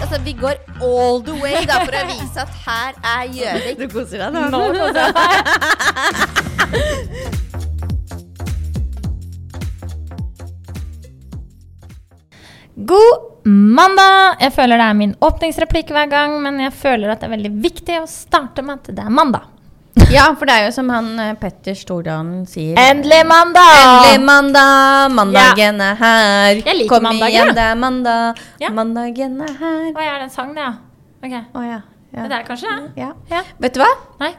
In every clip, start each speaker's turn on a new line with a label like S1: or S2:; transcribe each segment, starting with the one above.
S1: Altså, vi går all the way da, for å vise at her er Gjøvik.
S2: Du koser deg nå.
S3: God mandag! Jeg føler det er min åpningsreplikk hver gang, men jeg føler at det er veldig viktig å starte med at det er mandag.
S2: Ja, for det er jo som han eh, Petter Stordalen sier.
S3: Endelig mandag!
S2: Endelig mandag, mandagen er her.
S3: Jeg liker
S2: Kom
S3: mandager,
S2: igjen,
S3: da.
S2: det er mandag.
S3: Ja.
S2: Mandagen er her.
S3: Hva er det en sang, det, ja? Ok.
S2: Å ja. ja.
S3: Det der kanskje? ja?
S2: ja.
S3: Ja.
S2: Vet du hva?
S3: Nei?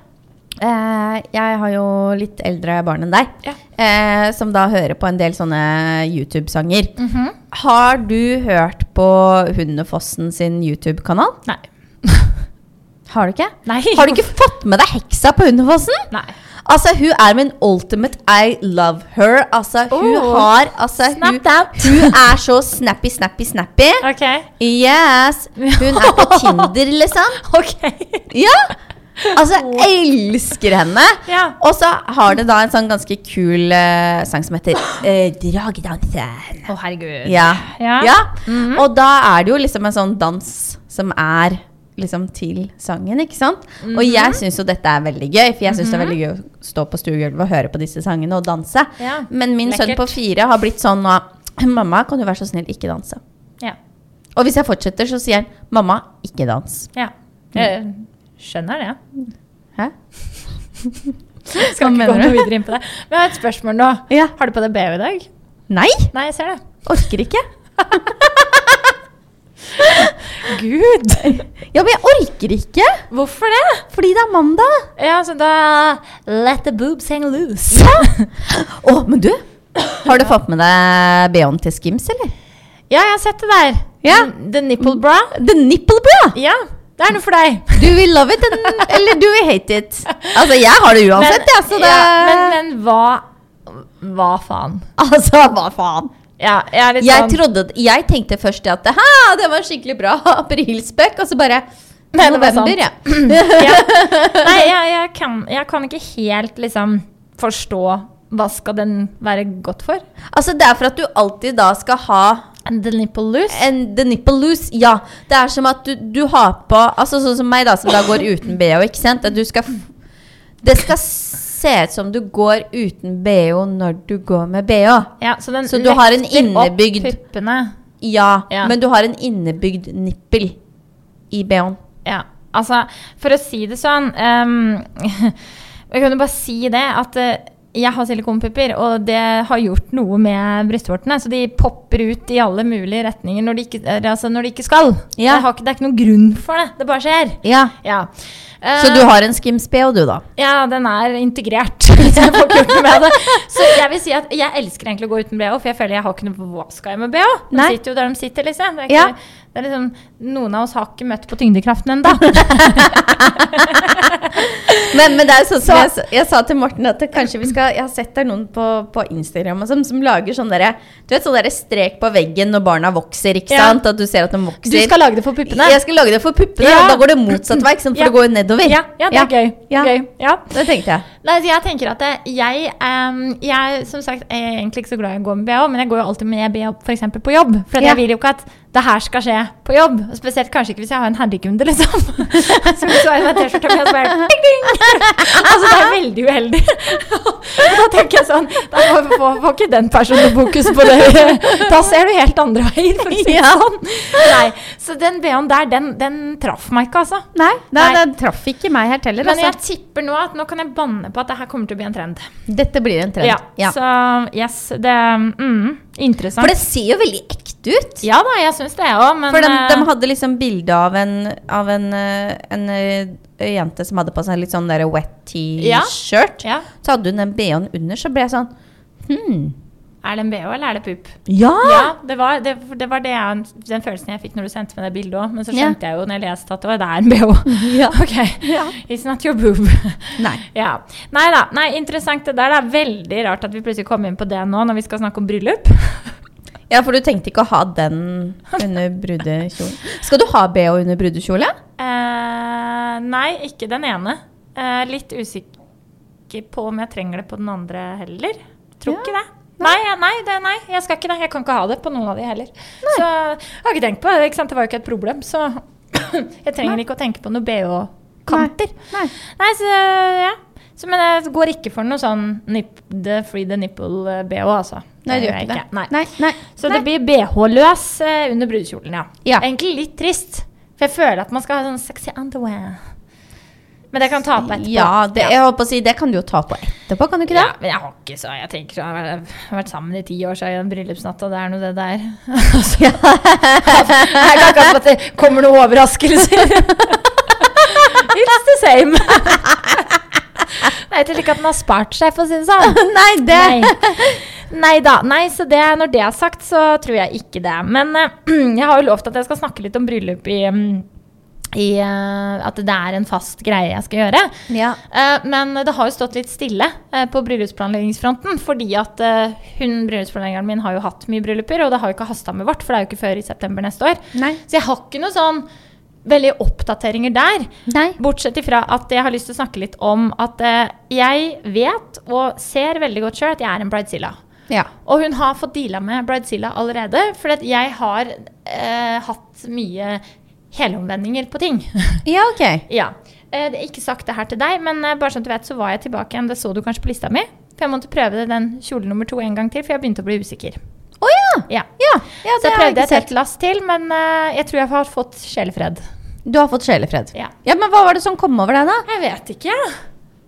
S2: Eh, jeg har jo litt eldre barn enn deg,
S3: Ja.
S2: eh, som da hører på en del sånne YouTube-sanger.
S3: Mhm.
S2: Har du hørt på Hundefossen sin YouTube-kanal?
S3: Nei.
S2: Har du ikke?
S3: Nei.
S2: Har du ikke fått med deg heksa på Hundefossen?
S3: Nei.
S2: Altså, hun er min ultimate I love her. Altså, hun
S3: Oh.
S2: har altså, hun,
S3: Snapped out.
S2: hun er så snappy, snappy, snappy.
S3: Ok.
S2: Yes! Hun er på Tinder, liksom.
S3: Ok.
S2: Ja! Altså, jeg elsker henne.
S3: Ja.
S2: Og så har det da en sånn ganske kul eh, sang som heter eh, Dragdansen.
S3: Å, herregud.
S2: Ja.
S3: Ja. Mhm.
S2: Og da er det jo liksom en sånn dans som er liksom til sangen, ikke sant? Og
S3: Mhm.
S2: jeg syns jo dette er veldig gøy, for jeg syns det er veldig gøy å stå på stuegulvet og høre på disse sangene og danse.
S3: Ja.
S2: Men min sønn
S3: Lekkert.
S2: på fire har blitt sånn nå Mamma, kan du være så snill, ikke danse?
S3: Ja.
S2: Og hvis jeg fortsetter, så sier han Mamma, ikke dans.
S3: ja. Jeg skjønner det.
S2: Hæ?
S3: Skal
S2: Hva
S3: ikke
S2: mener
S3: gå
S2: du?
S3: noe videre inn på det. Men jeg har et spørsmål nå.
S2: Ja.
S3: Har du på deg BH i dag?
S2: Nei!
S3: Nei, jeg ser det.
S2: Orker ikke.
S3: Gud!
S2: Ja, men jeg orker ikke!
S3: Hvorfor det?
S2: Fordi det er mandag.
S3: Ja, så da Let the boobs hang loose.
S2: Ja. Å, men du! Har du fått med deg BH-en til Skims, eller?
S3: Ja, jeg har sett det der.
S2: Ja.
S3: Den- The nipple bra.
S2: The nipple bra!
S3: Ja, det er noe for deg.
S2: Do we love it, and, eller do we hate it? Altså, jeg har det uansett, jeg,
S3: altså,
S2: så det
S3: ja, men, men hva Hva faen?
S2: Altså, hva faen?
S3: Ja, jeg er litt
S2: Jeg,
S3: sånn
S2: trodde, jeg tenkte først det at Hæ, det var skikkelig bra aprilspøk, og så bare
S3: Nei, det var sant.
S2: November, ja.
S3: ja. Nei, jeg, jeg, kan, jeg kan ikke helt liksom forstå hva skal den være godt for?
S2: Altså, det er for at du alltid da skal ha
S3: And the nipple loose?
S2: en, the nipple loose. Ja. Det er som at du, du har på Altså sånn som meg, da, som da går uten BH, ikke sant. At du skal f- Det skal se ut som du går uten BH når du går med BH.
S3: Ja, så den
S2: Så du har en
S3: løfter opp
S2: innebygd-
S3: puppene.
S2: Ja,
S3: Ja.
S2: men du har en innebygd nippel i BH-en.
S3: Ja, altså, for å si det sånn ehm, Jeg kan jo bare si det at eh, jeg har silikonpupper, og det har gjort noe med brystvortene. Så de popper ut i alle mulige retninger når de ikke, eller altså når de ikke skal.
S2: Ja.
S3: Jeg har ikke, det er ikke noen grunn for det. Det bare skjer.
S2: Ja.
S3: Ja.
S2: Så
S3: Eh,
S2: du har en skims-BH, du, da?
S3: Ja, den er integrert. Så jeg får ikke gjort noe med det. Så jeg vil si at jeg elsker egentlig å gå uten BH, for jeg føler jeg har ikke noe Hva skal jeg med BH? De
S2: Nei.
S3: sitter jo der de sitter, liksom. Det er
S2: Ja.
S3: ikke, det er liksom noen av oss har ikke møtt på tyngdekraften ennå.
S2: Men, men det er jo sånn som jeg, s- jeg sa til Morten at det kanskje vi skal Jeg har sett der noen på, på Instagram og sånn, som lager sånn derre Du vet sånn derre strek på veggen når barna vokser, ikke
S3: Ja.
S2: sant? At du ser at de vokser.
S3: Du skal lage det for puppene.
S2: Jeg skal lage det for puppene,
S3: Ja.
S2: og da går det motsatt vei, ikke sant? For
S3: Ja.
S2: det går jo nedover.
S3: Ja, ja, det er gøy.
S2: Ja.
S3: gøy. Ja.
S2: Det tenkte jeg.
S3: Nei, så jeg tenker at eh, jeg, em, jeg som sagt, er egentlig ikke så glad i å gå med BH, men jeg går jo alltid med BH for eksempel på jobb. For at
S2: Ja.
S3: jeg vil jo ikke at det her skal skje på jobb. Og Spesielt kanskje ikke hvis jeg har en herrekunde, liksom. som så er i meg T-skjorta mi, og så bare ding, ding. altså, det er veldig uheldig. Og da tenker jeg sånn Da får, får, får ikke den personen fokus på det. Da ser du helt andre veier, for å si det
S2: Ja.
S3: sånn. Nei, så den BH-en der, den, den traff meg ikke, altså.
S2: Nei,
S3: nei,
S2: det traff ikke meg helt heller.
S3: Men jeg tipper nå at nå kan jeg banne på at det her kommer til å bli en trend.
S2: Dette blir en trend.
S3: Ja, Så yes, det mm, Interessant.
S2: For det ser jo veldig ekte ut.
S3: ja da, jeg syns det òg, men
S2: For de,
S3: eh,
S2: de hadde liksom bilde av en, av en, eh, en eh, jente som hadde på seg litt sånn der wet T-shirt.
S3: ja.
S2: Så hadde hun den BH-en under, så ble jeg sånn Hm.
S3: Er det en bh, eller er det pupp?
S2: Ja!
S3: Ja, det var, det, det var det jeg, den følelsen jeg fikk når du sendte meg det bildet òg. Men så
S2: Ja.
S3: skjønte jeg jo når jeg leste at det var- det er en bh.
S2: Ja.
S3: Ok, it's not your boob.
S2: Nei.
S3: ja. Nei da. Nei, interessant det der. Det er veldig rart at vi plutselig kom inn på det nå når vi skal snakke om bryllup.
S2: ja, for du tenkte ikke å ha den under brudekjolen. Skal du ha BH under brudekjole?
S3: Eh, nei, ikke den ene. Eh, litt usikker på om jeg trenger det på den andre heller. Tror
S2: Ja.
S3: ikke det. Nei, ja, nei, det, nei, jeg skal ikke det. Jeg kan ikke ha det på noen av de heller. Så jeg har ikke tenkt på det. Ikke sant? Det var jo ikke et problem. Så jeg trenger ikke å tenke på noe BH-kanter.
S2: Nei.
S3: Nei, så ja. Så, men jeg går ikke for noe sånn nip, the free the nipple-BH, altså.
S2: Nei, du
S3: Det
S2: gjør
S3: gjør jeg
S2: ikke det.
S3: ikke. Nei.
S2: Nei, nei.
S3: Så det blir BH-løs eh, under brudekjolen, ja.
S2: Ja.
S3: Egentlig litt trist. For jeg føler at man skal ha sånn sexy underwear. Men det kan ta på etterpå.
S2: Ja, det, jeg holdt på å si, det kan du jo ta på etterpå, kan du ikke det?
S3: Ja, men jeg har ikke så Jeg tenker jeg har vært sammen i ti år, så er det en bryllupsnatt, og det er nå det der. Altså, jeg kan ikke at det kommer noen overraskelser. It's the same. Nei, jeg tror ikke at den har spart seg, for å si det sånn.
S2: Nei, det
S3: Nei. Nei da. Nei, så det, når det er sagt, så tror jeg ikke det. Men eh, jeg har jo lovt at jeg skal snakke litt om bryllup i, mm, i eh, At det er en fast greie jeg skal gjøre.
S2: Ja.
S3: Eh, Men det har jo stått litt stille eh, på bryllupsplanleggingsfronten. Fordi at eh, hun bryllupsplanleggeren min har jo hatt mye brylluper, og det har jo ikke hasta med vårt, for det er jo ikke før i september neste år.
S2: Nei.
S3: Så jeg har ikke noe sånn veldig oppdateringer der.
S2: Nei.
S3: Bortsett ifra at jeg har lyst til å snakke litt om at eh, jeg vet og ser veldig godt sjøl at jeg er en bridezilla.
S2: Ja.
S3: Og hun har fått deala med bridezilla allerede, for at jeg har eh, hatt mye helomvendinger på ting.
S2: ja, ok.
S3: Ja. Eh, det er ikke sagt det her til deg, men eh, bare sånn at du vet, så var jeg tilbake igjen. Det så du kanskje på lista mi. For jeg måtte prøve den kjole nummer to en gang til, for jeg begynte å bli usikker.
S2: Å ja.
S3: Ja.
S2: ja! Ja,
S3: så
S2: det
S3: jeg
S2: har jeg
S3: prøvde
S2: ikke
S3: et helt
S2: sett.
S3: lass til, men eh, jeg tror jeg har fått sjelefred.
S2: Du har fått sjelefred.
S3: Ja.
S2: men hva var det som kom over deg, da?
S3: Jeg vet ikke.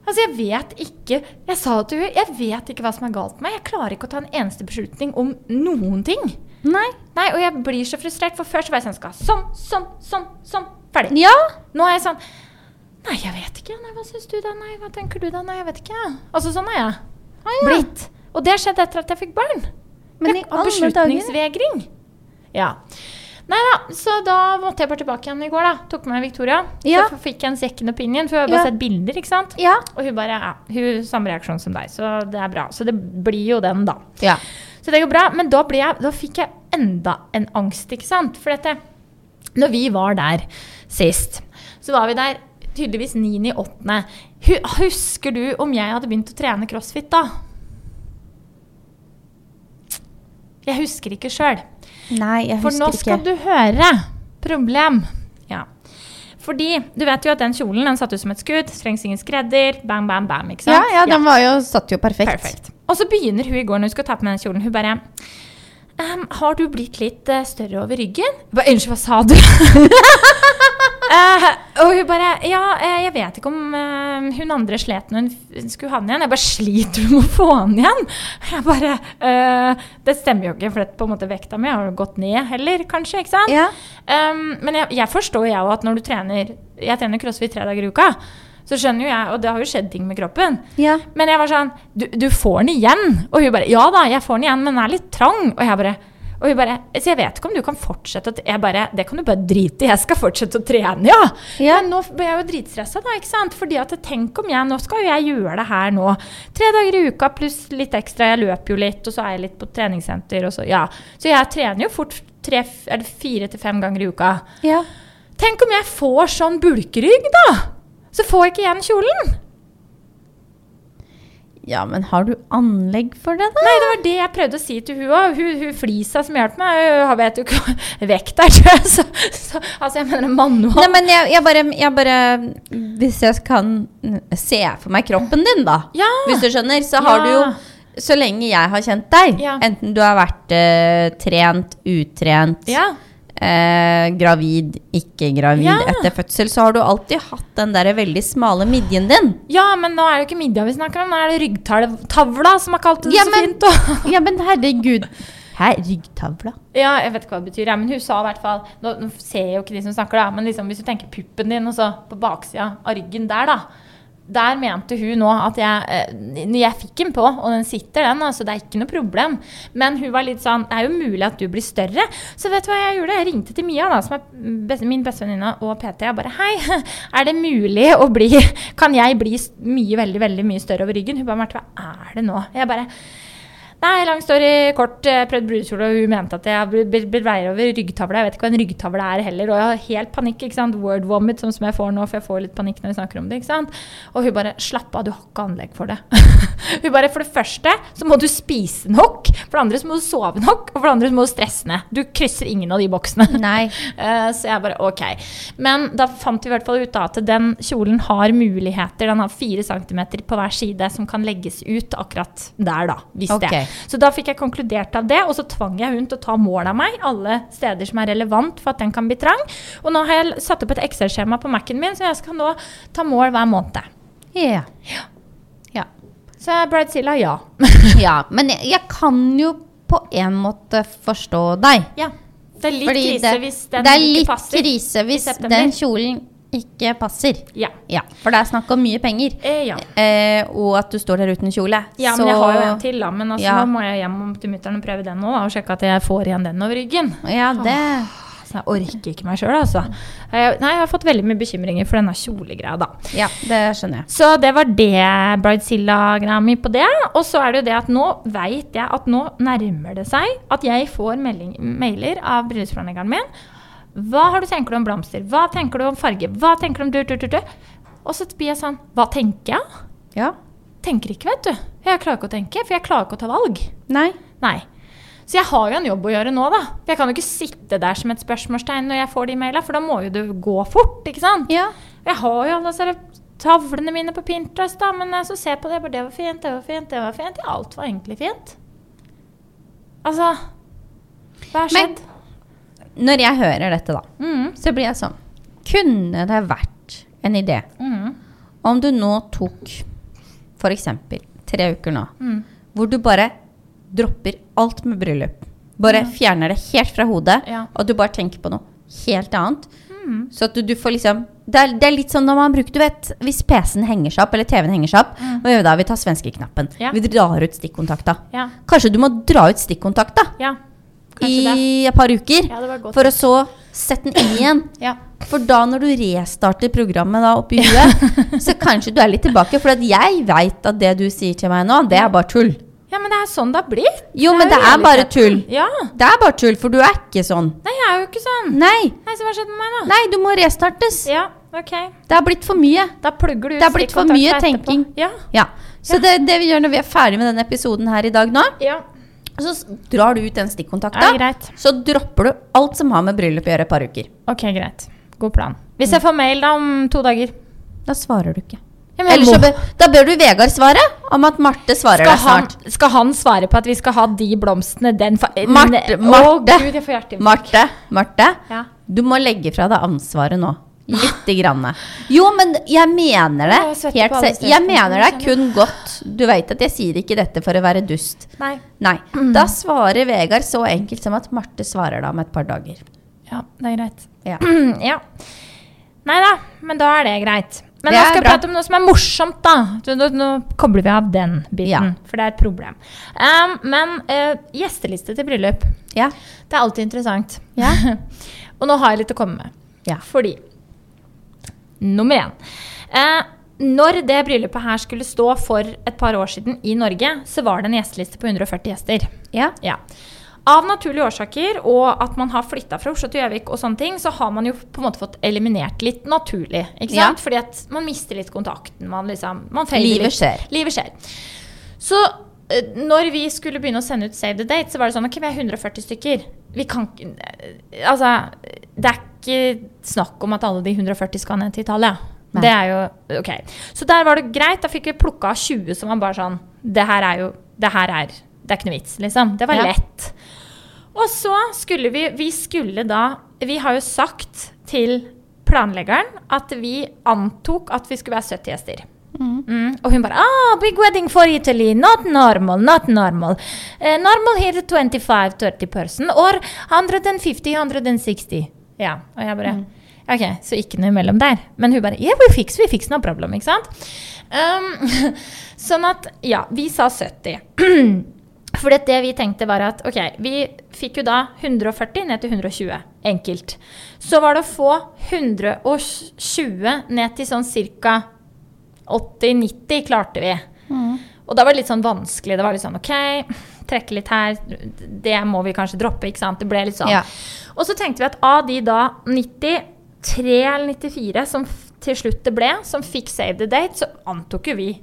S3: Altså, jeg vet ikke Jeg sa det til henne, jeg vet ikke hva som er galt med meg. Jeg klarer ikke å ta en eneste beslutning om noen ting.
S2: Nei.
S3: Nei, og jeg blir så frustrert, for før så var jeg sånn skal ha sånn, sånn, sånn, sånn, ferdig.
S2: Ja.
S3: Nå er jeg sånn Nei, jeg vet ikke. Nei, hva syns du da? Nei, hva tenker du da? Nei, jeg vet ikke. Altså sånn er jeg blitt. Og det skjedde etter at jeg fikk barn.
S2: Men i
S3: Jeg- av
S2: alle dager
S3: Beslutningsvegring. Ja. Nei da, så da måtte jeg bare tilbake igjen i går, da. Tok med meg Victoria.
S2: Ja.
S3: Så fikk jeg en second opinion, for hun har bare
S2: Ja.
S3: sett bilder, ikke sant.
S2: Ja.
S3: Og hun bare ja, hun samme reaksjon som deg, så det er bra. Så det blir jo den, da.
S2: ja.
S3: Så det går bra. Men da, ble jeg, da fikk jeg enda en angst, ikke sant? For dette, når vi var der sist, så var vi der tydeligvis 9.8. Husker du om jeg hadde begynt å trene crossfit da? Jeg husker ikke sjøl.
S2: Nei, jeg
S3: For nå
S2: husker
S3: skal
S2: ikke.
S3: du høre. Problem. Ja. Fordi du vet jo at den kjolen den satt ut som et skudd. Trengs ingen skredder. Bam, bam, bam. ikke sant?
S2: Ja, ja, den var jo, satt jo perfekt.
S3: Perfekt. Og så begynner hun i går når hun skal ta på meg den kjolen. Hun bare «Ehm, Har du blitt litt eh, større over ryggen? Jeg Bare, Unnskyld, hva sa du? Eh, og hun bare Ja, eh, jeg vet ikke om eh, hun andre slet når hun f- skulle ha den igjen. Jeg bare Sliter du med å få den igjen? Jeg bare «Eh, Det stemmer jo ikke, for det, på en måte vekta mi har jo gått ned heller, kanskje. ikke sant?
S2: Ja.
S3: Um, men jeg, jeg forstår jo jeg også at når du trener Jeg trener crossfit tre dager i uka. Så skjønner jo jeg, og det har jo skjedd ting med kroppen.
S2: Ja.
S3: Men jeg var sånn du, du får den igjen. Og hun bare Ja da, jeg får den igjen, men den er litt trang. Og jeg bare og hun bare, Så jeg vet ikke om du kan fortsette å t- Jeg bare Det kan du bare drite i. Jeg skal fortsette å trene, ja.
S2: Ja.
S3: Men nå ble jeg jo dritstressa, da. ikke sant? Fordi at tenk om jeg Nå skal jo jeg gjøre det her nå. Tre dager i uka pluss litt ekstra. Jeg løper jo litt, og så er jeg litt på treningssenter. Og så, ja. så jeg trener jo fort tre, eller fire til fem ganger i uka.
S2: Ja.
S3: Tenk om jeg får sånn bulkerygg, da! Så får jeg ikke igjen kjolen.
S2: ja, men har du anlegg for det, da?
S3: Nei, det var det jeg prøvde å si til hun òg. Hun, hun flisa som hjalp meg, hun vet jo ikke Vekta er død, så, så Altså, jeg mener en manual.
S2: Nei, men jeg, jeg, bare, jeg bare Hvis jeg kan se for meg kroppen din, da.
S3: Ja.
S2: Hvis du skjønner, så har du
S3: Ja.
S2: jo Så lenge jeg har kjent deg,
S3: Ja.
S2: enten du har vært eh, trent, utrent,
S3: Ja.
S2: eh, gravid, ikke gravid
S3: Ja.
S2: etter fødsel, så har du alltid hatt den der veldig smale midjen din.
S3: ja, men nå er det jo ikke middag vi snakker om, nå er det ryggtavla, som har kalt det
S2: Ja,
S3: så
S2: men-
S3: fint. Og,
S2: Ja, men herregud. Her, ryggtavla.
S3: Ja, jeg vet ikke hva det betyr, ja, men hun sa i hvert fall Nå nå ser jeg jo ikke de som snakker, da, men liksom, hvis du tenker puppen din, og så på baksida av ryggen der, da. Der mente hun nå at jeg eh, Når jeg fikk den på, og den sitter, den, altså, det er ikke noe problem. Men hun var litt sånn Det er jo mulig at du blir større. Så vet du hva jeg gjorde? Jeg ringte til Mia, da, som er best, min bestevenninne og PT. Jeg bare Hei, er det mulig å bli Kan jeg bli s- mye, veldig, veldig mye større over ryggen? Hun bare Marte, hva er det nå? Jeg bare Nei, lang story kort. Jeg prøvde brudekjole, og hun mente at jeg ble- ble- ble veier over ryggtavla. Jeg vet ikke hva en ryggtavle er heller. Og jeg har helt panikk. ikke sant? Word vomit, sånn som jeg får nå, for jeg får litt panikk når vi snakker om det. ikke sant? Og hun bare 'Slapp av, du har ikke anlegg for det'. hun bare 'For det første så må du spise nok. For det andre så må du sove nok. Og for det andre så må du stresse ned. Du krysser ingen av de boksene.
S2: Nei.
S3: Eh, Så jeg bare OK. Men da fant vi i hvert fall ut da at den kjolen har muligheter. Den har fire centimeter på hver side som kan legges ut akkurat der, da. Hvis
S2: Ok.
S3: det. Så da fikk jeg konkludert av det, og så tvang jeg hun til å ta mål av meg alle steder som er relevant for at den kan bli trang. Og nå har jeg satt opp et Excel-skjema på Mac-en min, så jeg skal nå ta mål hver måned.
S2: Ja.
S3: Ja. Så Bridezilla, ja.
S2: ja. Men jeg, jeg kan jo på en måte forstå deg.
S3: ja. Det er litt
S2: Fordi
S3: krise
S2: det,
S3: hvis den
S2: det er
S3: ikke
S2: litt
S3: passer.
S2: krise hvis
S3: i september.
S2: den kjolen ikke passer.
S3: Ja.
S2: Ja, for det er snakk om mye penger.
S3: Eh, ja.
S2: Eh, og at du står der uten kjole.
S3: Ja, men jeg har jo en til, da. Men altså,
S2: Ja.
S3: nå må jeg hjem til mutter'n og prøve den nå, da, og sjekke at jeg får igjen den over ryggen.
S2: Ja, det
S3: Så jeg orker ikke meg sjøl, altså. Jeg, nei, jeg har fått veldig mye bekymringer for denne kjolegreia, da.
S2: Ja, det skjønner jeg.
S3: Så det var det Bridezilla-greia mi på det. Og så er det jo det at nå veit jeg at nå nærmer det seg at jeg får melding, mailer av bryllupsplanleggeren min. Hva har du tenker du om blomster? Hva tenker du om farge? Hva tenker du om du-du-du-du? Og så blir jeg sånn Hva tenker jeg?
S2: Ja.
S3: Tenker ikke, vet du. Jeg klarer ikke å tenke, for jeg klarer ikke å ta valg.
S2: Nei.
S3: Nei. Så jeg har jo en jobb å gjøre nå, da. Jeg kan jo ikke sitte der som et spørsmålstegn når jeg får de maila, for da må jo det gå fort, ikke sant?
S2: Ja.
S3: Jeg har jo alle disse tavlene mine på Pinterest, da, men jeg så ser jeg på det, jeg bare det var fint, det var fint, det var fint. Ja, alt var egentlig fint. Altså Hva har
S2: Men-
S3: skjedd?
S2: Når jeg hører dette, da,
S3: Mm,
S2: så blir jeg sånn Kunne det vært en idé
S3: mm,
S2: om du nå tok f.eks. tre uker nå,
S3: mm.
S2: hvor du bare dropper alt med bryllup? Bare fjerner det helt fra hodet,
S3: Ja.
S2: og du bare tenker på noe helt annet.
S3: Mm.
S2: Så at du, du får liksom det er, det er litt sånn når man bruker, du vet, hvis PC-en henger seg opp, eller TV-en henger seg opp, hva gjør vi da? Vi tar svenskeknappen.
S3: Mm. Ja.
S2: Vi drar ut stikkontakta.
S3: Ja.
S2: Kanskje du må dra ut stikkontakta
S3: Ja.
S2: i
S3: Kanskje det.
S2: et par uker,
S3: Ja, det var godt.
S2: for å så sette den inn igjen.
S3: Ja.
S2: For da når du restarter programmet da oppi huet, så kanskje du er litt tilbake. For at jeg veit at det du sier til meg nå, det er bare tull.
S3: ja, men det er sånn det har blitt.
S2: Jo, men
S3: jo
S2: det er bare tull.
S3: realiteten. Ja.
S2: Det er bare tull, for du er ikke sånn.
S3: Nei, jeg er jo ikke sånn.
S2: Nei.
S3: Nei, så hva har skjedd med meg, da?
S2: Nei, du må restartes.
S3: Ja, OK.
S2: Det er blitt for mye.
S3: Da plugger du ut
S2: Det er blitt for mye
S3: stikkontakten etterpå.
S2: tenking.
S3: Ja.
S2: Ja. Så det, det vi gjør når vi er ferdig med denne episoden her i dag nå,
S3: Ja.
S2: så s- drar du ut den
S3: Ja,
S2: stikkontakta.
S3: greit.
S2: Så dropper du alt som har med bryllup å gjøre et par uker.
S3: Ok, greit. God plan.
S2: Mm.
S3: Hvis jeg får mail da om to dager
S2: Da svarer du ikke.
S3: Jeg mener,
S2: Eller så
S3: må-
S2: bør, da bør du Vegard svare om at Marte svarer
S3: skal,
S2: deg
S3: han,
S2: snart.
S3: skal han svare på at vi skal ha de blomstene den fa eh,
S2: Marte,
S3: ne-
S2: Marte.
S3: Å, Gud, jeg får hjerteinfarkt.
S2: Marte, Marte.
S3: Ja.
S2: Du må legge fra deg ansvaret nå. Lite grann. Jo, men jeg mener det.
S3: Jeg svetter
S2: Helt
S3: på alle
S2: se- jeg
S3: stedspunktene,
S2: mener det er
S3: kjenner
S2: kun
S3: jeg.
S2: godt. Du veit at jeg sier ikke dette for å være dust.
S3: Nei.
S2: Nei.
S3: Mm.
S2: Da svarer Vegard så enkelt som at Marte svarer da om et par dager.
S3: Ja, det er greit.
S2: Ja.
S3: ja. Nei da, men da er det greit. Men
S2: Det
S3: nå
S2: er
S3: skal jeg
S2: bra.
S3: prate om noe som er morsomt, da. Så Nå, nå kobler vi av den biten,
S2: Ja.
S3: for det er et problem. Um, men eh, gjesteliste til bryllup,
S2: Ja.
S3: det er alltid interessant.
S2: Ja.
S3: Og nå har jeg litt å komme med.
S2: Ja.
S3: Fordi Nummer én. Eh, når det bryllupet her skulle stå for et par år siden i Norge, så var det en gjesteliste på 140 gjester.
S2: Ja.
S3: Ja. Av naturlige årsaker og at man har flytta fra Oslo til Gjøvik, og sånne ting, så har man jo på en måte fått eliminert litt naturlig. ikke
S2: Ja.
S3: sant? Fordi at man mister litt kontakten. man liksom, man fader
S2: Livet
S3: litt.
S2: skjer.
S3: Livet skjer. Så eh, når vi skulle begynne å sende ut Save the Date, så var det sånn OK, vi er 140 stykker. Vi kan ikke eh, Altså, det er ikke snakk om at alle de 140 skal ned til Italia.
S2: Nei.
S3: Det er jo OK. Så der var det greit. Da fikk vi plukka av 20 som var bare sånn Det her er jo Det her er Det er ikke noe vits, liksom. Det var
S2: Ja.
S3: lett. Og så skulle vi Vi skulle da Vi har jo sagt til planleggeren at vi antok at vi skulle være 70 gjester. Mm. Og hun bare ah, 'Big wedding for Italy. Not normal. Not normal. Eh, normal here 25-30 person. Or 150-160.' Ja. Og jeg bare OK, så ikke noe imellom der. Men hun bare 'Yeah, we fix, we fix, no problem'. Ikke sant? Um, sånn at Ja, vi sa 70. Fordi at det vi tenkte var at ok, vi fikk jo da 140 ned til 120 enkelt. Så var det å få 120 ned til sånn ca.
S2: mm.
S3: 80-90 klarte vi. Og da var det litt sånn vanskelig. Det var litt sånn OK, trekke litt her, det må vi kanskje droppe. ikke sant? Det ble litt sånn.
S2: Ja.
S3: Og så tenkte vi at av de da 93 eller 94 som f- til slutt det ble, som fikk Save the Date, så antok jo vi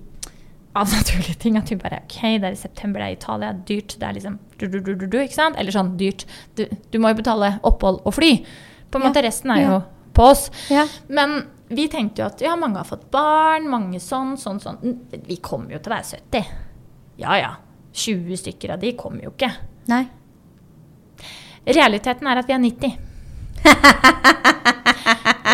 S3: av naturlige ting at vi bare OK, det er i september, det er Italia, dyrt, det er liksom du, du, du, du, du, ikke sant? Eller sånn dyrt. Du, du må jo betale opphold og fly. På en
S2: Ja.
S3: måte, resten er
S2: Ja.
S3: jo på oss.
S2: Ja.
S3: Men vi tenkte jo at ja, mange har fått barn, mange sånn, sånn, sånn. N- Vi kommer jo til å være 70. Ja ja. 20 stykker av de kommer jo ikke.
S2: Nei.
S3: Realiteten er at vi er 90.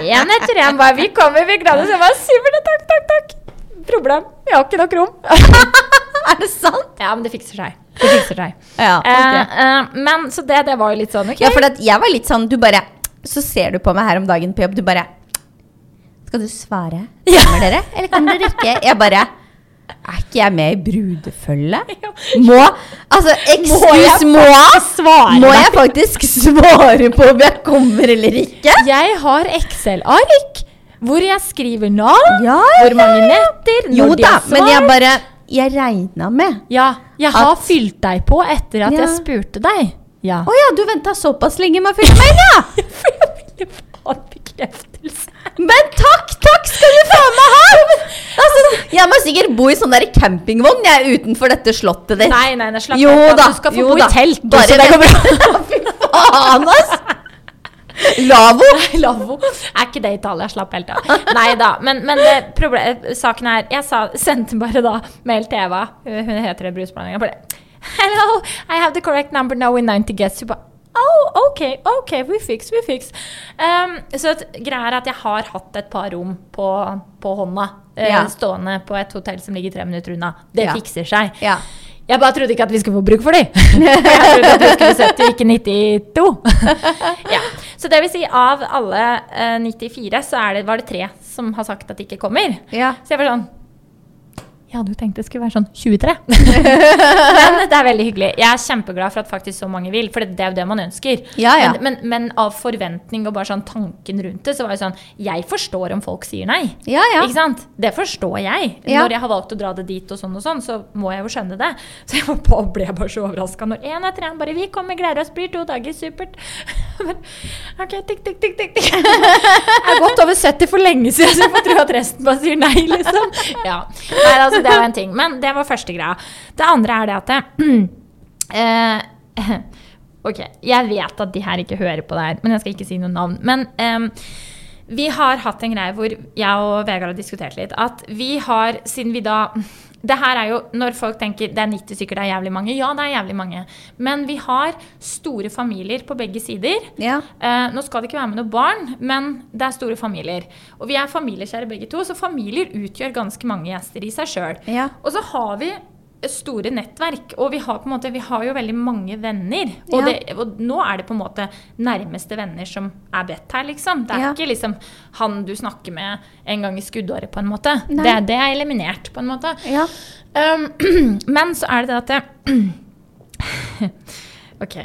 S3: Én etter én bare Vi kommer, vi gleder oss. Jeg bare Sivert, takk, takk, takk. Problem. Vi har ikke nok rom.
S2: Er det sant?
S3: Ja, men det fikser seg. Det fikser seg.
S2: Ja, ok.
S3: Eh, eh, men så det, det var jo litt sånn OK.
S2: ja for at jeg var litt sånn Du bare Så ser du på meg her om dagen på jobb, du bare Skal du svare? Kommer dere, eller kommer dere ikke? Jeg bare Er ikke jeg med i brudefølget? Må Altså, excuse må
S3: svare?
S2: Må jeg faktisk svare på om jeg kommer eller ikke?
S3: Jeg har Excel-ark hvor jeg skriver navn,
S2: Ja,
S3: hvor mange netter, når
S2: Jo
S3: de
S2: da,
S3: har
S2: men jeg
S3: svart.
S2: bare Jeg regna med.
S3: Ja, jeg har
S2: At-
S3: fylt deg på etter at
S2: Ja.
S3: jeg spurte deg. Ja.
S2: Å ja, du venta såpass lenge med å fylle meg inn, ja!
S3: For jeg ville få en bekreftelse.
S2: Men takk, takk skal du faen meg ha! Altså, jeg må sikkert bo i sånn der campingvogn jeg er utenfor dette slottet ditt.
S3: Nei, nei, nei, slapp
S2: jo
S3: av.
S2: da,
S3: Du skal få
S2: jo
S3: bo
S2: da.
S3: i telt. du,
S2: Bare
S3: så det går bra.
S2: Fy faen, ass! Lavvo.
S3: Lavvo. Er ikke det Italia? Slapp helt av. Nei da. Men, men det proble- saken er Jeg sa, sendte bare da mail til Eva, Eh, hun heter det brusblandinga, bare Hello, I have the correct number now in 90 guests. Hun bare Oh, ok, ok, we fix, we fix. Um, så at, greia er at jeg har hatt et par rom på, på hånda. eh,
S2: Ja.
S3: Stående på et hotell som ligger tre minutter unna. Det
S2: Ja.
S3: fikser seg.
S2: Ja.
S3: Jeg bare trodde ikke at vi skulle få bruk for dem. Jeg trodde at vi skulle sett det, ikke 92. ja. Så det vil si, av alle eh, 94, så er det, var det tre som har sagt at de ikke kommer.
S2: Ja.
S3: Så jeg var sånn Jeg hadde jo tenkt det skulle være sånn 23. men det er veldig hyggelig. Jeg er kjempeglad for at faktisk så mange vil, for det er jo det man ønsker.
S2: Ja, ja.
S3: Men, men, men av forventning og bare sånn tanken rundt det, så var det sånn Jeg forstår om folk sier nei.
S2: Ja, ja.
S3: Ikke sant? Det forstår jeg.
S2: Ja.
S3: Når jeg har valgt å dra det dit, og sånn og sånn, så må jeg jo skjønne det. Så jeg var på, ble bare så overraska når én etter én bare 'Vi kommer, gleder oss, blir to dager, supert'. Men, ok, tikk, tikk, tikk, tikk, tikk. Jeg er godt over 70 for lenge siden, så jeg får tro at resten bare sier nei, liksom. Ja. Nei, altså, det var en ting. Men det var første greia. Det andre er det at eh, Ok, jeg vet at de her ikke hører på det her, men jeg skal ikke si noe navn. Men ehm, vi har hatt en greie hvor jeg og Vegard har diskutert litt. At vi har, siden vi da Det her er jo når folk tenker det er 90 stykker, det er jævlig mange. Ja, det er jævlig mange. Men vi har store familier på begge sider.
S2: Ja.
S3: Eh, nå skal det ikke være med noen barn, men det er store familier. Og vi er familiekjære begge to, så familier utgjør ganske mange gjester i seg sjøl.
S2: Ja.
S3: Og så har vi store nettverk, og vi har, på en måte, vi har jo veldig mange venner. Og,
S2: Ja.
S3: det, og nå er det på en måte nærmeste venner som er bedt her, liksom. Det er
S2: Ja.
S3: ikke liksom han du snakker med en gang i skuddåret, på en måte.
S2: Nei.
S3: Det, det er eliminert, på en måte.
S2: Ja.
S3: Um, men så er det det at det Ok.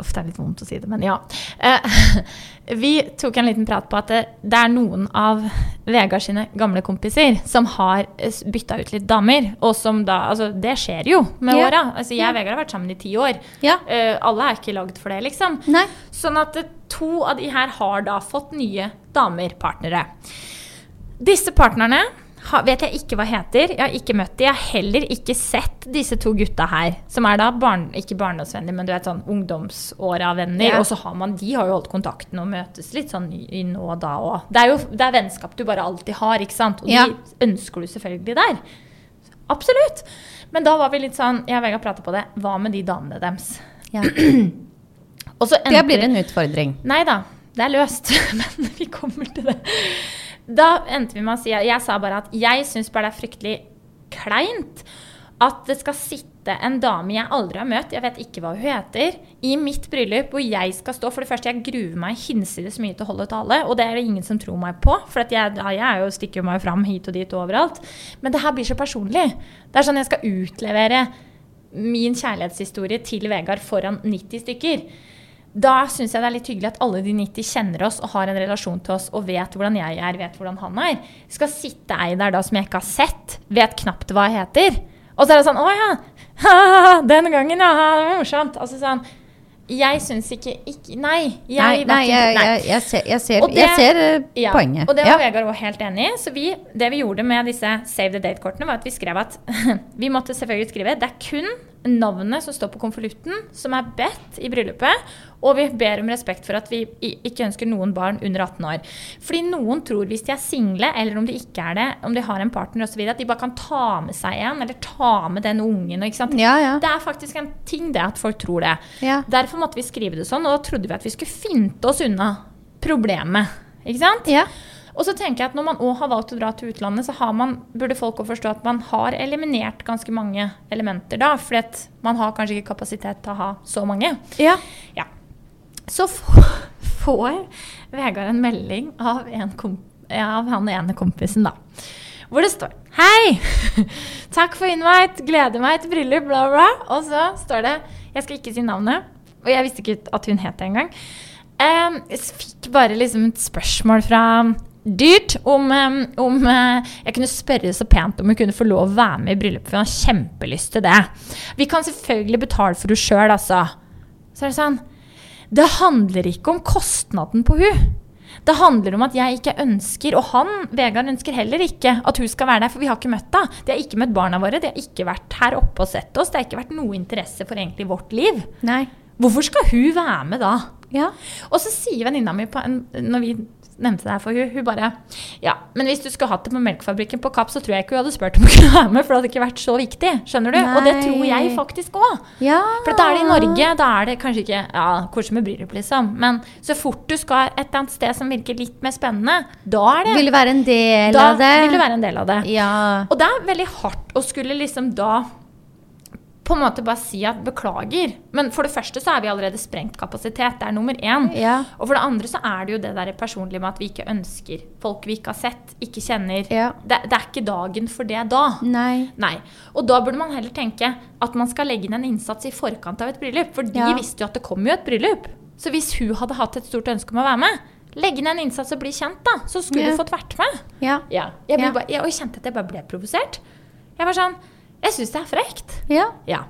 S3: Uff, det er litt vondt å si det, men ja. Eh, vi tok en liten prat på at det, det er noen av Vegard sine gamle kompiser som har bytta ut litt damer. Og som da Altså, det skjer jo med
S2: Ja.
S3: åra. Altså, jeg og Vegard har vært sammen i ti år.
S2: Ja.
S3: Eh, alle er ikke lagd for det, liksom.
S2: Nei.
S3: Sånn at eh, to av de her har da fått nye damer, partnere. Disse partnerne ha- vet jeg ikke hva heter. Jeg har ikke møtt de. Jeg har heller ikke sett disse to gutta her. Som er da barn, ikke barndomsvenner, men du vet sånn ungdomsåra-venner.
S2: Ja.
S3: Og så har man De har jo holdt kontakten og møtes litt sånn i i nå og da òg. Det er jo det er vennskap du bare alltid har, ikke sant. Og
S2: Ja.
S3: de ønsker du selvfølgelig der. Absolutt. Men da var vi litt sånn Jeg og Vegard prata på det. Hva med de damene deres?
S2: Ja.
S3: Og så
S2: Det
S3: endte
S2: blir en utfordring.
S3: Nei da, det er løst. Men vi kommer til det. Da endte vi med å si Jeg sa bare at jeg syns bare det er fryktelig kleint at det skal sitte en dame jeg aldri har møtt, jeg vet ikke hva hun heter, i mitt bryllup hvor jeg skal stå. For det første, jeg gruer meg hinsides mye til å holde tale, og det er det ingen som tror meg på. For at jeg, ja, jeg er jo, stikker jo meg fram hit og dit og overalt. Men det her blir så personlig. Det er sånn jeg skal utlevere min kjærlighetshistorie til Vegard foran 90 stykker. Da syns jeg det er litt hyggelig at alle de 90 kjenner oss og har en relasjon til oss og vet hvordan jeg er, vet hvordan han er. Skal sitte ei der da som jeg ikke har sett, vet knapt hva jeg heter. Og så er det sånn Å ja, «Haha, Den gangen, ja. Det var morsomt. Altså sånn Jeg syns ikke, ikke Nei. Jeg,
S2: Nei, nei,
S3: var ikke-
S2: jeg, jeg, jeg ser, jeg ser,
S3: Og det-
S2: jeg ser eh,
S3: Ja,
S2: poenget.
S3: Og det
S2: Ja.
S3: var Vegard også helt enig i. Så vi, det vi gjorde med disse Save the Date-kortene, var at vi skrev at vi måtte selvfølgelig skrive det er kun navnet som står på konvolutten, som er bedt i bryllupet. Og vi ber om respekt for at vi i- ikke ønsker noen barn under 18 år. Fordi noen tror hvis de er single, eller om de ikke er det, om de har en partner osv., at de bare kan ta med seg en, eller ta med den ungen. og Ikke sant?
S2: Ja, ja.
S3: Det er faktisk en ting det at folk tror det.
S2: Ja.
S3: Derfor måtte vi skrive det sånn, og da trodde vi at vi skulle finte oss unna problemet. Ikke sant?
S2: Ja.
S3: Og så tenker jeg at Når man òg har valgt å dra til utlandet, så har man, burde folk også forstå at man har eliminert ganske mange elementer da. For man har kanskje ikke kapasitet til å ha så mange.
S2: Ja.
S3: Ja. Så få- får Vegard en melding av, en kom, ja, av han ene kompisen, da. Hvor det står Hei! Takk for invite. Gleder meg til bryllup, bla, bla. Og så står det Jeg skal ikke si navnet, og jeg visste ikke at hun het det engang. Um, jeg fikk bare liksom et spørsmål fra Dyrt om, em, om eh, jeg kunne spørre så pent om hun kunne få lov å være med i bryllupet. For hun har kjempelyst til det. Vi kan selvfølgelig betale for henne sjøl, altså. Så er det sånn Det handler ikke om kostnaden på hun. Det handler om at jeg ikke ønsker, og han, Vegard, ønsker heller ikke at hun skal være der, for vi har ikke møtt henne. De har ikke møtt barna våre, de har ikke vært her oppe og sett oss. Det har ikke vært noe interesse for egentlig vårt liv.
S2: Nei.
S3: Hvorfor skal hun være med da?
S2: Ja.
S3: Og så sier venninna mi på en, når vi nevnte det her for hun, hun bare Ja, men hvis du skulle hatt det på melkefabrikken på Kapp, så tror jeg ikke hun hadde spurt om hun kunne være med, for det hadde ikke vært så viktig. Skjønner du? Og det tror jeg
S2: Nei.
S3: faktisk òg.
S2: ja.
S3: For da er det
S2: Ah.
S3: i Norge, da er det kanskje ikke ja, hvordan med bryllup, liksom. Men så fort du skal et eller annet sted som virker litt mer spennende, da er det
S2: Vil være en del
S3: Da
S2: av det.
S3: vil du være en del av det.
S2: Ja.
S3: Og det er veldig hardt å skulle liksom da på en måte bare si at beklager. Men for det første så er vi allerede sprengt kapasitet. Det er nummer én.
S2: Ja.
S3: Og for det andre så er det jo det der personlige med at vi ikke ønsker folk vi ikke har sett, ikke kjenner.
S2: Ja.
S3: Det, det er ikke dagen for det da.
S2: Nei.
S3: Nei. Og da burde man heller tenke at man skal legge inn en innsats i forkant av et bryllup. For de
S2: Ja.
S3: visste jo at det kom jo et bryllup. Så hvis hun hadde hatt et stort ønske om å være med, legg inn en innsats og bli kjent, da. Så skulle
S2: Ja.
S3: du fått vært med.
S2: Ja.
S3: Ja. Jeg, ble
S2: Ja.
S3: bare, jeg, og jeg kjente at jeg bare ble provosert. Jeg var sånn Jeg syns det er frekt.
S2: Ja.
S3: Ja.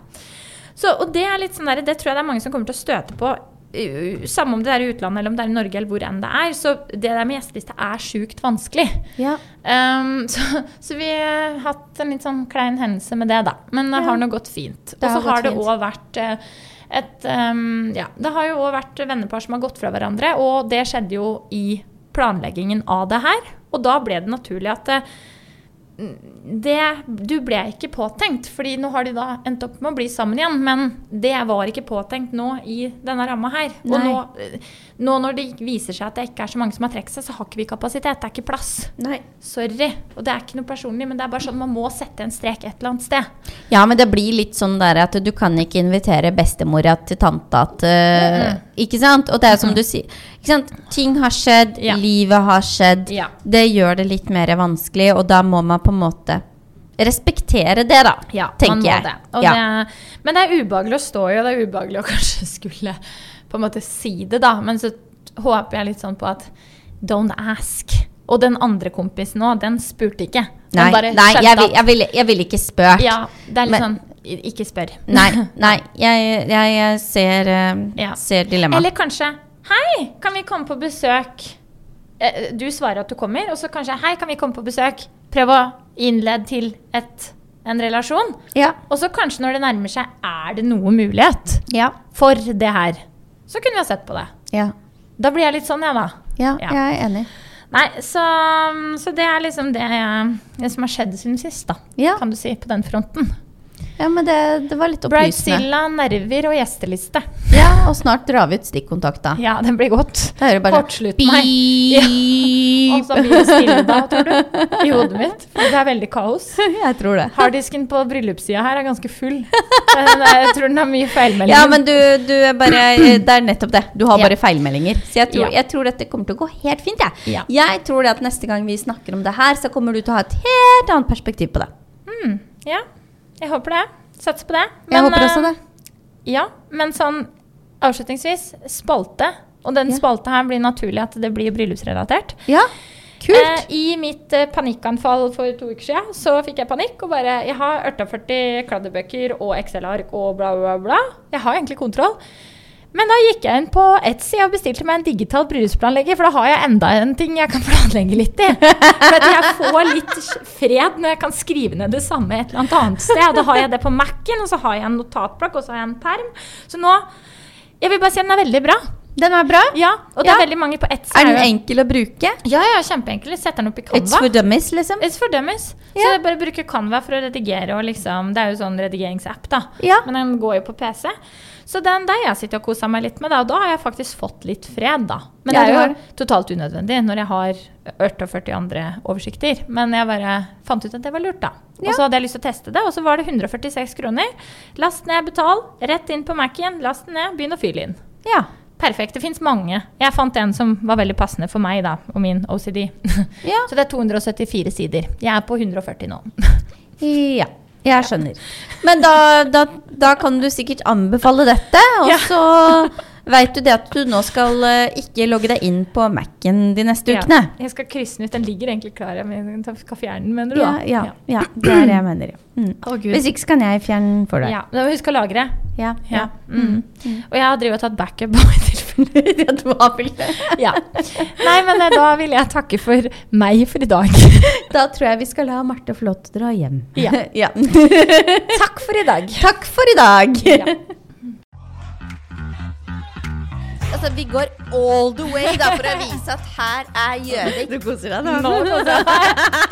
S3: Så, og det er litt sånn der, det tror jeg det er mange som kommer til å støte på. uh, Samme om det er i utlandet eller om det er i Norge eller hvor enn det er. Så det der med gjesteliste er sjukt vanskelig.
S2: Ja.
S3: Ehm, så, så vi har hatt en litt sånn klein hendelse med det, da. Men det har nå gått fint. Og
S2: Det har
S3: så har
S2: gått
S3: det
S2: fint.
S3: òg vært eh, et ehm, Ja, det har jo òg vært vennepar som har gått fra hverandre, og det skjedde jo i planleggingen av det her. Og da ble det naturlig at eh, det, du ble ikke påtenkt, fordi nå har de da endt opp med å bli sammen igjen. Men det var ikke påtenkt nå i denne ramma her. Og nå, eh,
S2: Nei.
S3: nå når det viser seg at det ikke er så mange som har trukket seg, så har ikke vi kapasitet. Det er ikke plass.
S2: Nei.
S3: Sorry. Og det er ikke noe personlig, men det er bare sånn man må sette en strek et eller annet sted.
S2: Ja, men det blir litt sånn der at du kan ikke invitere bestemora til tanta til Ikke sant? Og det er som du sier. Ikke sant? Ting har skjedd,
S3: Ja.
S2: livet har skjedd.
S3: Ja.
S2: Det gjør det litt mer vanskelig, og da må man på en måte respektere det, da.
S3: man
S2: tenker
S3: må
S2: jeg.
S3: Det. Og
S2: Ja.
S3: Det, men det er ubehagelig å stå i, og det er ubehagelig å kanskje skulle på en måte si det, da. Men så håper jeg litt sånn på at don't ask. Og den andre kompisen òg, den spurte ikke. Den
S2: Nei,
S3: bare
S2: nei
S3: skjønte
S2: jeg, vil,
S3: at-
S2: jeg, vil, jeg vil ikke spøke.
S3: Ja, det er litt
S2: Men-
S3: sånn i- ikke spør.
S2: Nei, nei jeg, jeg, jeg ser, eh,
S3: Ja.
S2: ser dilemmaet.
S3: Eller kanskje Hei, kan vi komme på besøk? Eh, Du svarer at du kommer, og så kanskje Hei, kan vi komme på besøk? Prøv å innlede til et, en relasjon.
S2: Ja.
S3: Og så kanskje når det nærmer seg, er det noe mulighet
S2: Ja.
S3: for det her. Så kunne vi ha sett på det.
S2: Ja.
S3: Da blir jeg litt sånn, jeg, da.
S2: ja,
S3: Ja.
S2: jeg er enig.
S3: Nei, så, så det er liksom det, jeg- det som har skjedd siden sist, da.
S2: Ja.
S3: Kan du si, på den fronten.
S2: Ja, men det, det var litt opplysende.
S3: Bridezilla, nerver og gjesteliste.
S2: Ja, og snart drar vi ut stikkontakta.
S3: Ja, den blir godt.
S2: Da hører du bare
S3: Kortslutt meg. Og
S2: Beep.
S3: så blir det stille da, tror du, i hodet mitt. For det er veldig kaos.
S2: Jeg tror det.
S3: Harddisken på bryllupssida her er ganske full. Men eh, jeg tror den har mye feilmeldinger.
S2: Ja, men du, du er bare eh, Det er nettopp det. Du har
S3: Ja.
S2: bare feilmeldinger. Så jeg tror,
S3: Ja.
S2: jeg tror dette kommer til å gå helt fint, jeg.
S3: Ja.
S2: Jeg tror det at neste gang vi snakker om det her, så kommer du til å ha et helt annet perspektiv på det.
S3: Mm, ja, jeg håper det. Satser på det.
S2: Jeg håper også
S3: eh,
S2: det.
S3: Ja, men sånn avslutningsvis, spalte. Og den
S2: Ja.
S3: spalte her blir naturlig at det blir bryllupsrelatert.
S2: Ja. Kult.
S3: Eh, I mitt eh, panikkanfall for to uker siden så fikk jeg panikk og bare Jeg har 48 kladdebøker og Excel-ark og bla, bla, bla. Jeg har egentlig kontroll. Men da gikk jeg inn på Etsy og bestilte meg en digital bryllupsplanlegger, for da har jeg enda en ting jeg kan planlegge litt i. For at jeg får litt fred når jeg kan skrive ned det samme et eller annet annet sted. Og da har jeg det på Mac-en, og så har jeg en notatblokk, og så har jeg en perm. Så nå Jeg vil bare si den er veldig bra.
S2: Den er bra.
S3: Ja, og det
S2: Ja.
S3: er veldig mange på Etsy.
S2: Er den
S3: jo-
S2: enkel å bruke?
S3: Ja, ja, kjempeenkel. Jeg Setter den opp i Canva.
S2: It's for dummies, liksom?
S3: It's for dummies. Så
S2: Ja.
S3: jeg bare bruker Canva for å redigere. Og liksom, det er jo sånn redigeringsapp, da.
S2: Ja.
S3: Men den går jo på PC. Så den der jeg sitter og koser meg litt med, da. Og da har jeg faktisk fått litt fred, da. Men
S2: Ja,
S3: det
S2: du
S3: er
S2: har
S3: jo totalt unødvendig når jeg har 48 andre oversikter. Men jeg bare fant ut at det var lurt, da.
S2: Ja.
S3: Og så hadde jeg lyst til å teste det, og så var det 146 kroner. Last ned, betal. Rett inn på Mac-en, last den ned, begynn å fylle inn.
S2: Ja.
S3: Perfekt. Det fins mange. Jeg fant en som var veldig passende for meg da, og min OCD.
S2: Ja.
S3: Så det er 274 sider. Jeg er på 140 nå.
S2: ja. Jeg skjønner. Men da, da, da kan du sikkert anbefale dette, og
S3: Ja.
S2: så veit du det at du nå skal eh, ikke logge deg inn på Mac-en de neste ukene.
S3: Ja. Jeg skal krysse den ut. Den ligger egentlig klar. Jeg mener, jeg skal fjerne den, mener du?
S2: Ja,
S3: da?
S2: ja, ja. Det er det jeg mener. ja. Mm.
S3: Å, Gud.
S2: Hvis ikke så kan jeg fjerne den for deg.
S3: Ja, men Husk å lagre.
S2: Ja,
S3: Ja.
S2: ja.
S3: Mm. Og jeg har drevet og tatt backup. i tilfelle.
S2: Ja, du har vel det.
S3: ja. Nei, men eh, da vil jeg takke for meg for i dag.
S2: Da tror jeg vi skal la Marte få lov til å dra hjem.
S3: Ja.
S2: ja.
S3: Takk for i dag.
S2: Takk for i dag!
S3: Ja.
S1: Altså, vi går all the way da, for å vise at her er Gjøvik.
S2: Du koser deg
S3: Nå,